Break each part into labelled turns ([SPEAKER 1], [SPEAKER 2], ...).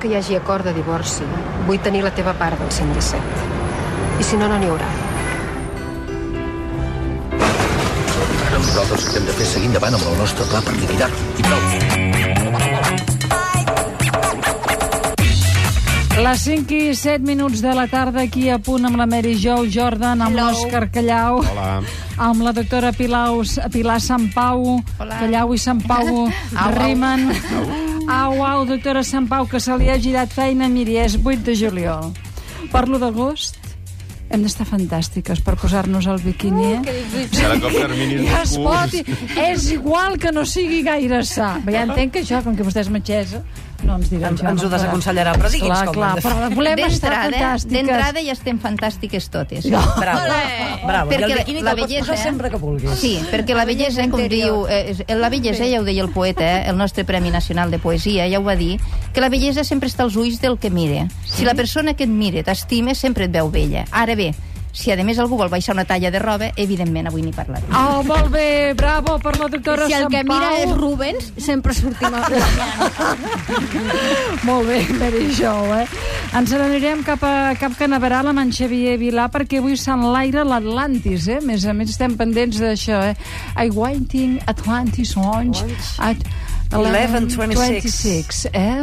[SPEAKER 1] que hi hagi acord de divorci, vull tenir la teva part del 117. I si no, no n'hi haurà.
[SPEAKER 2] Ara nosaltres el que hem de fer és seguir endavant amb el nostre pla per liquidar-lo. I prou.
[SPEAKER 3] Les 5 i 7 minuts de la tarda, aquí a punt amb la Mary Jo Jordan, amb l'Òscar Callau,
[SPEAKER 4] Hola.
[SPEAKER 3] amb la doctora Pilau, Pilar Sant Pau,
[SPEAKER 5] Hola.
[SPEAKER 3] Callau i Sant Pau rimen. Au, au, doctora Sant Pau, que se li ha girat feina, miri, és 8 de juliol. Parlo d'agost, hem d'estar fantàstiques per posar-nos el biquini, eh?
[SPEAKER 4] Serà com terminis
[SPEAKER 3] Ja
[SPEAKER 4] molt
[SPEAKER 3] es pot,
[SPEAKER 4] curts.
[SPEAKER 3] i- és igual que no sigui gaire sa. Bé, ja entenc que això, com que vostè és metgessa, no ens dirà
[SPEAKER 6] Ens-
[SPEAKER 3] això.
[SPEAKER 6] ens ho
[SPEAKER 3] no farà.
[SPEAKER 6] desaconsellarà, però digui'ns
[SPEAKER 3] clar,
[SPEAKER 6] com ho
[SPEAKER 3] Clar,
[SPEAKER 6] hem de
[SPEAKER 3] però volem estar
[SPEAKER 5] D'entrada
[SPEAKER 3] fantàstiques.
[SPEAKER 5] d'entrada ja estem fantàstiques totes.
[SPEAKER 6] Bravo. Bravo. I
[SPEAKER 5] Perquè
[SPEAKER 6] el biquini te'l pots posar
[SPEAKER 3] eh?
[SPEAKER 6] sempre que vulguis.
[SPEAKER 5] Sí, perquè la bellesa, com diu... Eh, és- la bellesa, ja ho deia el poeta, eh, el nostre Premi Nacional de Poesia, ja ho va dir, que la bellesa sempre està als ulls del que mira. Si la persona que et mira t'estima, sempre et veu bella. Ara bé, si a més algú vol baixar una talla de roba, evidentment avui n'hi parlarem.
[SPEAKER 3] Oh, molt bé, bravo per la doctora
[SPEAKER 7] Si el
[SPEAKER 3] Sant
[SPEAKER 7] que mira
[SPEAKER 3] Pau.
[SPEAKER 7] és Rubens, sempre sortim a...
[SPEAKER 3] Molt bé, Mary Jo, eh? Ens n'anirem cap a Cap Canaveral amb en Xavier Vilà perquè avui s'enlaira l'Atlantis, eh? Més a més estem pendents d'això, eh? I wanting Atlantis Orange at
[SPEAKER 6] 11:26.
[SPEAKER 3] 11:26, eh?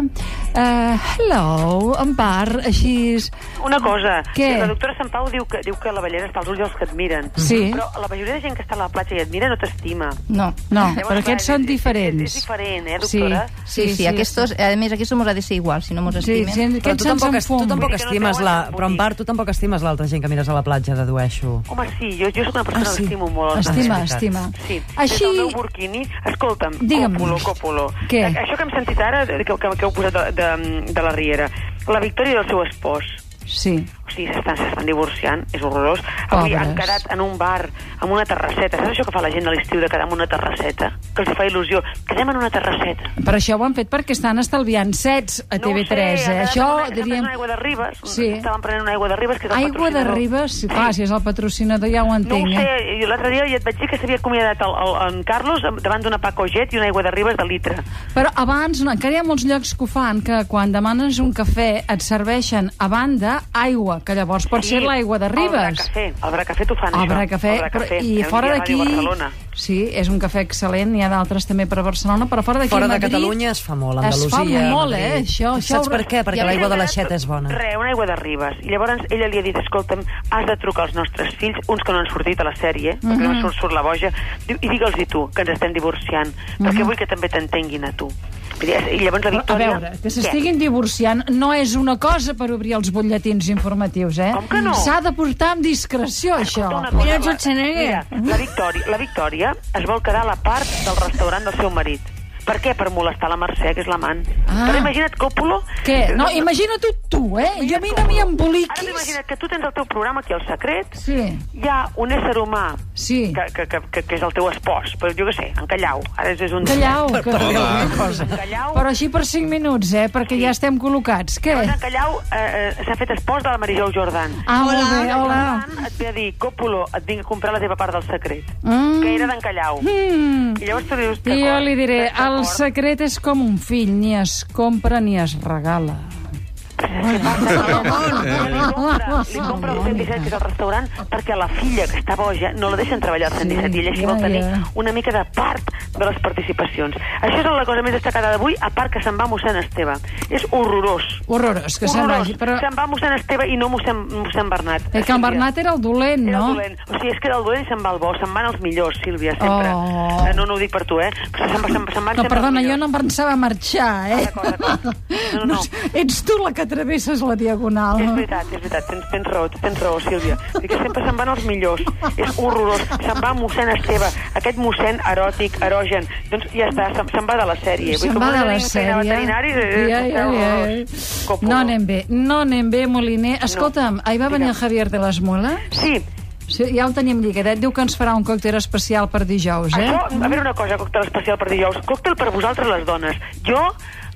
[SPEAKER 3] Uh, hello, en part, així... és-
[SPEAKER 8] Una cosa,
[SPEAKER 3] Què?
[SPEAKER 8] la doctora Sant Pau diu que, diu que la bellesa està als ulls dels que et miren.
[SPEAKER 3] Sí.
[SPEAKER 8] Mm-hmm. Però la majoria de gent que està a la platja i et mira no t'estima.
[SPEAKER 5] No.
[SPEAKER 3] No,
[SPEAKER 8] Llavors,
[SPEAKER 3] però aquests
[SPEAKER 8] clar,
[SPEAKER 3] són
[SPEAKER 8] és- és-
[SPEAKER 3] diferents.
[SPEAKER 8] és diferent, eh, doctora?
[SPEAKER 5] Sí, sí, sí, aquestos, a més, aquestos mos ha de ser igual, si no mos
[SPEAKER 3] Sí,
[SPEAKER 5] estimen.
[SPEAKER 3] sí,
[SPEAKER 6] Però
[SPEAKER 3] aquests
[SPEAKER 6] tu tampoc,
[SPEAKER 3] se'ns
[SPEAKER 6] es, tu
[SPEAKER 3] enfumen.
[SPEAKER 6] tampoc
[SPEAKER 8] Vull dir que no
[SPEAKER 6] estimes
[SPEAKER 8] treuen
[SPEAKER 6] la...
[SPEAKER 8] el
[SPEAKER 6] Però en
[SPEAKER 8] botín.
[SPEAKER 6] part, tu tampoc estimes l'altra gent que mires a la platja, dedueixo.
[SPEAKER 8] Home, sí, jo, jo sóc una persona
[SPEAKER 3] Ah,
[SPEAKER 8] que
[SPEAKER 3] sí.
[SPEAKER 8] estimo molt. els
[SPEAKER 3] Estima,
[SPEAKER 6] Ah, és veritat.
[SPEAKER 3] estima.
[SPEAKER 8] Sí, Així...
[SPEAKER 3] Així...
[SPEAKER 8] des del meu burquini... Escolta'm,
[SPEAKER 3] Digue'm.
[SPEAKER 8] Còpolo, Còpolo.
[SPEAKER 3] Què?
[SPEAKER 8] A- Això que hem sentit ara, que, que, que heu posat de, de, de la Riera, la victòria del seu espòs.
[SPEAKER 3] Sí.
[SPEAKER 8] O sigui, s'estan, s'estan divorciant, és horrorós. Avui
[SPEAKER 3] Pobres.
[SPEAKER 8] han quedat en un bar, amb una terrasseta. Saps això que fa la gent a l'estiu de quedar en una terrasseta? Que els fa il·lusió. Quedem en una terrasseta.
[SPEAKER 3] Per això ho han fet perquè estan estalviant sets a
[SPEAKER 8] ho
[SPEAKER 3] TV3,
[SPEAKER 8] sé,
[SPEAKER 3] eh?
[SPEAKER 8] han
[SPEAKER 3] Això,
[SPEAKER 8] quedat en una-
[SPEAKER 3] diríem...
[SPEAKER 8] Una aigua de Ribes,
[SPEAKER 3] Sí.
[SPEAKER 8] estaven prenent una aigua de Ribes, que és el
[SPEAKER 3] Aigua de
[SPEAKER 8] patrocinador.
[SPEAKER 3] Ribes, sí, clar, si és el patrocinador ja ho
[SPEAKER 8] No ho
[SPEAKER 3] entenc.
[SPEAKER 8] sé,
[SPEAKER 3] eh?
[SPEAKER 8] jo l'altre dia ja et vaig dir que s'havia acomiadat el, el, en Carlos amb- davant d'una Paco Jet i una aigua de Ribes de litre.
[SPEAKER 3] Però abans, no, encara hi ha molts llocs que ho fan, que quan demanes un cafè et serveixen a banda aigua, que llavors pot ser l'aigua de
[SPEAKER 8] El
[SPEAKER 3] Ribes.
[SPEAKER 8] bracafé, el bracafé t'ho fan,
[SPEAKER 3] El
[SPEAKER 8] això.
[SPEAKER 3] bracafè,
[SPEAKER 8] El bracafè.
[SPEAKER 3] però, i
[SPEAKER 8] Hi ha
[SPEAKER 3] fora
[SPEAKER 8] un dia a
[SPEAKER 3] d'aquí...
[SPEAKER 8] Ràdio Barcelona.
[SPEAKER 3] Sí, és un cafè excel·lent, n'hi ha d'altres també per a Barcelona, però fora d'aquí
[SPEAKER 6] Fora
[SPEAKER 3] a
[SPEAKER 6] de
[SPEAKER 3] Madrid...
[SPEAKER 6] Catalunya es fa molt, a
[SPEAKER 3] Es fa
[SPEAKER 6] Andalusia. a
[SPEAKER 3] molt,
[SPEAKER 6] Madrid.
[SPEAKER 3] eh, això. això
[SPEAKER 6] Saps
[SPEAKER 3] ho-
[SPEAKER 6] per què?
[SPEAKER 3] I
[SPEAKER 6] Perquè
[SPEAKER 3] a
[SPEAKER 6] l'aigua de
[SPEAKER 8] M'he
[SPEAKER 6] l'aixeta és bona.
[SPEAKER 8] Re, una aigua de Ribes. I llavors ella li ha dit, escolta'm, has de trucar als nostres fills, uns que no han sortit a la sèrie, perquè no
[SPEAKER 3] Mhm.
[SPEAKER 8] surt, surt la boja, diu, i digue'ls-hi tu, que ens estem divorciant, perquè vull que també t'entenguin a tu. Vull dir, I llavors la
[SPEAKER 3] Però, Mhm. a
[SPEAKER 8] Victòria...
[SPEAKER 3] veure, que
[SPEAKER 8] Què?
[SPEAKER 3] s'estiguin divorciant no és una cosa per obrir els butlletins informatius, eh?
[SPEAKER 8] Com que no?
[SPEAKER 3] S'ha de portar amb discreció, això.
[SPEAKER 8] Una cosa,
[SPEAKER 7] Mira el
[SPEAKER 8] la-
[SPEAKER 7] Schwarzenegger.
[SPEAKER 8] mira, La Victòria, la Victòria es vol quedar a la part del restaurant del seu marit. Per què? Per molestar la Mercè, que és l'amant.
[SPEAKER 3] Ah.
[SPEAKER 8] Però imagina't, Còpolo...
[SPEAKER 3] Què? No, imagina't tu, eh? Jo a mi no m'hi
[SPEAKER 8] Ara
[SPEAKER 3] emboliquis.
[SPEAKER 8] t'imagina't que tu tens el teu programa aquí al Secret,
[SPEAKER 3] Sí,
[SPEAKER 8] hi ha un ésser humà
[SPEAKER 3] sí.
[SPEAKER 8] que, que, que, que, que és el teu espòs, però jo què sé, en Callau. Ara és, és un...
[SPEAKER 3] Callau, que...
[SPEAKER 8] En Callau,
[SPEAKER 3] Però així per 5 minuts, eh? Perquè ja estem col·locats. Què?
[SPEAKER 8] Llavors, en Callau eh, eh, s'ha fet espòs de la Marijol Jordan.
[SPEAKER 3] Ah, molt bé,
[SPEAKER 8] Jordan
[SPEAKER 3] hola.
[SPEAKER 8] et ve a dir, Còpolo, et vinc a comprar la teva part del secret,
[SPEAKER 3] Mm.
[SPEAKER 8] que era d'en Callau.
[SPEAKER 3] Mm.
[SPEAKER 8] I llavors tu dius...
[SPEAKER 3] I jo
[SPEAKER 8] d'acord,
[SPEAKER 3] li diré,
[SPEAKER 8] d'acord.
[SPEAKER 3] el secret és com un fill, ni es compra ni es regala.
[SPEAKER 8] Li compra, li compra el 117, que és el restaurant, perquè la filla, que està boja, no la deixen treballar al 117, i ella així
[SPEAKER 3] ja,
[SPEAKER 8] vol tenir
[SPEAKER 3] ja.
[SPEAKER 8] una mica de part de les participacions. Això és la cosa més destacada d'avui, a part que se'n va mossèn Esteve. És horrorós.
[SPEAKER 3] Horrorós, que se'n
[SPEAKER 8] horrorós.
[SPEAKER 3] vagi. Però
[SPEAKER 8] Se'n va mossèn Esteve i no mossèn, mossèn Bernat.
[SPEAKER 3] eh, que en Bernat era el dolent,
[SPEAKER 8] Era
[SPEAKER 3] no?
[SPEAKER 8] el dolent. O sigui, és que del dolent se'n va el bo, se'n van els millors, Sílvia, sempre.
[SPEAKER 3] Oh.
[SPEAKER 8] Eh, No, no ho dic per tu, eh? Però se'n va, se'n, se'n van
[SPEAKER 3] No,
[SPEAKER 8] sempre
[SPEAKER 3] perdona,
[SPEAKER 8] els
[SPEAKER 3] jo
[SPEAKER 8] millors.
[SPEAKER 3] no em pensava marxar, eh?
[SPEAKER 8] D'acord, d'acord. No, no, no.
[SPEAKER 3] Ets tu la que travesses la diagonal.
[SPEAKER 8] És veritat, és veritat, tens, tens raó, tens raó, Sílvia. I que sempre se'n van els millors. És horrorós. Se'n va mossèn Esteve, aquest mossèn eròtic, erogen. Doncs ja està, se'n se'n va de la sèrie.
[SPEAKER 3] Se'n va de la sèrie.
[SPEAKER 8] Veterinari,
[SPEAKER 3] Ja, ja, ja. No anem bé, no anem bé, Moliner. Escolta'm, ahir va venir el Javier de les Muelas?
[SPEAKER 8] Sí,
[SPEAKER 3] Sí, ja el tenim lligadet. Diu que ens farà un còctel especial per dijous, eh?
[SPEAKER 8] això, a veure una cosa, còctel especial per dijous. Còctel per vosaltres, les dones. Jo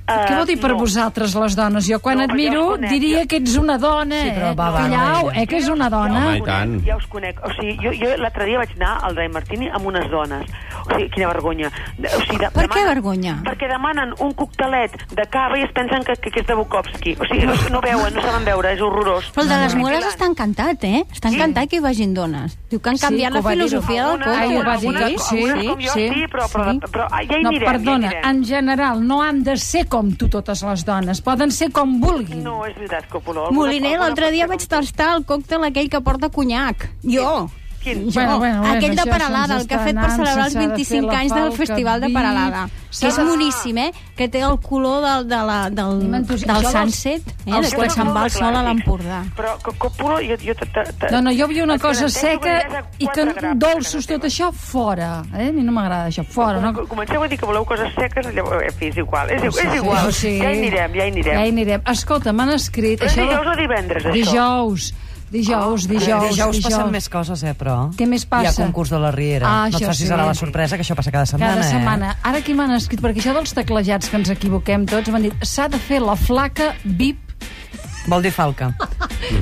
[SPEAKER 8] eh,
[SPEAKER 3] Què vol dir per
[SPEAKER 8] no.
[SPEAKER 3] vosaltres, les dones? Jo quan
[SPEAKER 8] No,
[SPEAKER 3] et
[SPEAKER 8] jo
[SPEAKER 3] miro
[SPEAKER 8] els conec,
[SPEAKER 3] diria
[SPEAKER 8] jo-
[SPEAKER 3] que ets una dona,
[SPEAKER 6] Sí, però
[SPEAKER 3] eh?
[SPEAKER 6] va, va,
[SPEAKER 3] Callau,
[SPEAKER 6] no, no.
[SPEAKER 3] eh, que és una dona.
[SPEAKER 4] Home,
[SPEAKER 8] Ja us
[SPEAKER 4] i
[SPEAKER 8] conec,
[SPEAKER 4] tant.
[SPEAKER 8] Ja us conec. O sigui, jo, jo l'altre dia vaig anar al Dai Martini amb unes dones. O sigui, quina vergonya. De- O sigui, de,
[SPEAKER 7] Per què vergonya?
[SPEAKER 8] Perquè demanen un coctelet de cava i es pensen que, que, que és de Bukowski. O sigui, no, no veuen, no saben veure, és horrorós.
[SPEAKER 7] Però el de les
[SPEAKER 8] Perquè
[SPEAKER 7] mores
[SPEAKER 8] l'han-
[SPEAKER 7] està encantat, eh? Està encantat que hi vagin dones. Diu que han
[SPEAKER 3] Sí,
[SPEAKER 7] canviat
[SPEAKER 3] que ho
[SPEAKER 7] la
[SPEAKER 3] va dir.
[SPEAKER 7] filosofia del
[SPEAKER 8] Algunes-
[SPEAKER 3] Ai, ho
[SPEAKER 7] cotxe.
[SPEAKER 3] va dir,
[SPEAKER 8] algunes-
[SPEAKER 3] sí,
[SPEAKER 8] algunes com jo,
[SPEAKER 3] sí,
[SPEAKER 8] sí, però, però,
[SPEAKER 3] sí.
[SPEAKER 8] però, ah, ja hi
[SPEAKER 3] no,
[SPEAKER 8] mirem.
[SPEAKER 3] perdona,
[SPEAKER 8] ja hi
[SPEAKER 3] en
[SPEAKER 8] mirem.
[SPEAKER 3] general, no han de ser com tu totes les dones. Poden ser com vulguin.
[SPEAKER 8] No, és veritat, Copoló. alguna-
[SPEAKER 7] Moliner,
[SPEAKER 8] alguna
[SPEAKER 7] l'altre dia
[SPEAKER 8] persona-
[SPEAKER 7] vaig tastar el còctel aquell que porta conyac. Jo!
[SPEAKER 8] Quin?
[SPEAKER 7] Jo,
[SPEAKER 3] Bueno, bueno, bueno,
[SPEAKER 7] aquell de
[SPEAKER 3] això
[SPEAKER 7] Peralada,
[SPEAKER 3] se'ns
[SPEAKER 7] el que ha
[SPEAKER 3] està
[SPEAKER 7] fet per
[SPEAKER 3] anant,
[SPEAKER 7] celebrar els
[SPEAKER 3] s'ha de fer la
[SPEAKER 7] 25 anys
[SPEAKER 3] falca,
[SPEAKER 7] del Festival de
[SPEAKER 3] vi,
[SPEAKER 7] Peralada,
[SPEAKER 3] s'ha
[SPEAKER 7] que és
[SPEAKER 3] de-
[SPEAKER 7] boníssim, eh? Que té el color del, de la, del,
[SPEAKER 3] Ni m'entusi- jo
[SPEAKER 7] del
[SPEAKER 3] dels-
[SPEAKER 7] sunset, eh?
[SPEAKER 3] els
[SPEAKER 7] de quan
[SPEAKER 3] clàssics.
[SPEAKER 7] se'n va el sol a l'Empordà.
[SPEAKER 8] Però Co- Copoló, jo... jo te- te- te-
[SPEAKER 3] No, no, jo vull una
[SPEAKER 8] et
[SPEAKER 3] cosa
[SPEAKER 8] garanteixo
[SPEAKER 3] seca
[SPEAKER 8] eh, que
[SPEAKER 3] i que
[SPEAKER 8] quatre grapes
[SPEAKER 3] dolços,
[SPEAKER 8] a casa
[SPEAKER 3] tot
[SPEAKER 8] teva.
[SPEAKER 3] això, fora. Eh? A mi no m'agrada això, fora. No?
[SPEAKER 8] Com- Comenceu a dir que voleu coses seques, llavors, en fi, és igual, és,
[SPEAKER 3] Sí,
[SPEAKER 8] igual,
[SPEAKER 3] sí,
[SPEAKER 8] és igual.
[SPEAKER 3] sí.
[SPEAKER 8] Ja hi anirem, ja hi anirem.
[SPEAKER 3] Ja hi anirem. Escolta, m'han escrit...
[SPEAKER 8] Però és
[SPEAKER 3] de-
[SPEAKER 8] dijous o divendres, això? Ah,
[SPEAKER 3] Dijous, dijous, dijous.
[SPEAKER 6] Dijous passen més coses, eh, però...
[SPEAKER 3] Què més passa?
[SPEAKER 6] Hi ha concurs de la Riera.
[SPEAKER 3] Ah,
[SPEAKER 6] no et
[SPEAKER 3] això
[SPEAKER 6] facis
[SPEAKER 3] sí.
[SPEAKER 6] ara la sorpresa, que això passa cada setmana,
[SPEAKER 3] Cada
[SPEAKER 6] eh?
[SPEAKER 3] setmana. Ara qui m'han escrit? Perquè això dels teclejats que ens equivoquem tots, m'han dit s'ha de fer la flaca VIP.
[SPEAKER 6] Vol dir falca.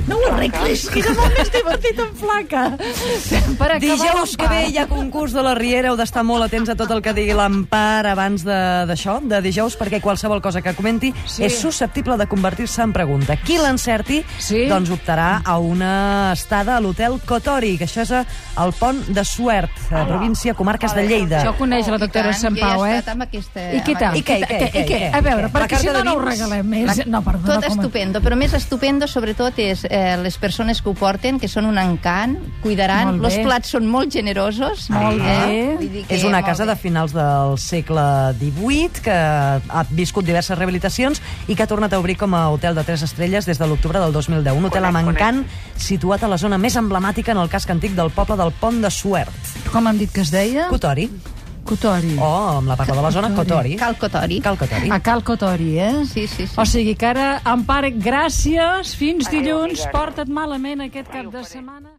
[SPEAKER 3] No ho arreglis, que era molt més divertit amb flaca. Per acabar
[SPEAKER 6] Dijous
[SPEAKER 3] la
[SPEAKER 6] que ve
[SPEAKER 3] part.
[SPEAKER 6] hi ha concurs de la Riera, heu d'estar molt atents a tot el que digui l'Empar abans de- d'això, de, de dijous, perquè qualsevol cosa que comenti
[SPEAKER 3] Sí.
[SPEAKER 6] sí. és susceptible de convertir-se en pregunta. Qui l'encerti,
[SPEAKER 3] Sí.
[SPEAKER 6] sí. doncs optarà a una estada a l'hotel Cotori, que això és a- al pont de Suert, a província Comarques de Lleida.
[SPEAKER 3] Això ho coneix la doctora
[SPEAKER 5] Oh, I tant,
[SPEAKER 3] Sant
[SPEAKER 5] jo he
[SPEAKER 3] Pau, eh?
[SPEAKER 5] estat amb aquesta-
[SPEAKER 3] I què
[SPEAKER 5] amb
[SPEAKER 3] tal?
[SPEAKER 6] aquesta- I què, i què,
[SPEAKER 3] I
[SPEAKER 6] i què,
[SPEAKER 3] què?
[SPEAKER 6] i
[SPEAKER 3] A
[SPEAKER 6] què?
[SPEAKER 3] veure,
[SPEAKER 6] La
[SPEAKER 3] perquè si
[SPEAKER 6] carta
[SPEAKER 3] no,
[SPEAKER 6] de
[SPEAKER 3] no ho
[SPEAKER 6] vins?
[SPEAKER 3] regalem més. No, perdona.
[SPEAKER 5] Tot
[SPEAKER 3] com-
[SPEAKER 5] estupendo, però més estupendo sobretot és eh, les persones que ho porten, que són un encant, cuidaran,
[SPEAKER 3] Molt bé.
[SPEAKER 5] els plats són molt generosos. Eh?
[SPEAKER 3] Molt bé.
[SPEAKER 5] Vull dir que
[SPEAKER 6] És una
[SPEAKER 5] molt
[SPEAKER 6] casa
[SPEAKER 5] bé.
[SPEAKER 6] de finals del segle XVIII que ha viscut diverses rehabilitacions i que ha tornat a obrir com a hotel de tres estrelles des de l'octubre del 2010. Un hotel amb encant situat a la zona més emblemàtica en el casc antic del poble del Pont de Suert.
[SPEAKER 3] Com hem dit que es deia?
[SPEAKER 6] Cotori.
[SPEAKER 3] Cotori.
[SPEAKER 6] O, amb la parla de la zona, Cotori.
[SPEAKER 5] Cal Cotori.
[SPEAKER 6] Cal Cotori.
[SPEAKER 3] A Cal Cotori, eh?
[SPEAKER 5] Sí, sí, sí.
[SPEAKER 3] O sigui que ara, Empar, gràcies. Fins
[SPEAKER 8] Adéu,
[SPEAKER 3] dilluns.
[SPEAKER 8] amigues.
[SPEAKER 3] Porta't malament aquest cap de setmana.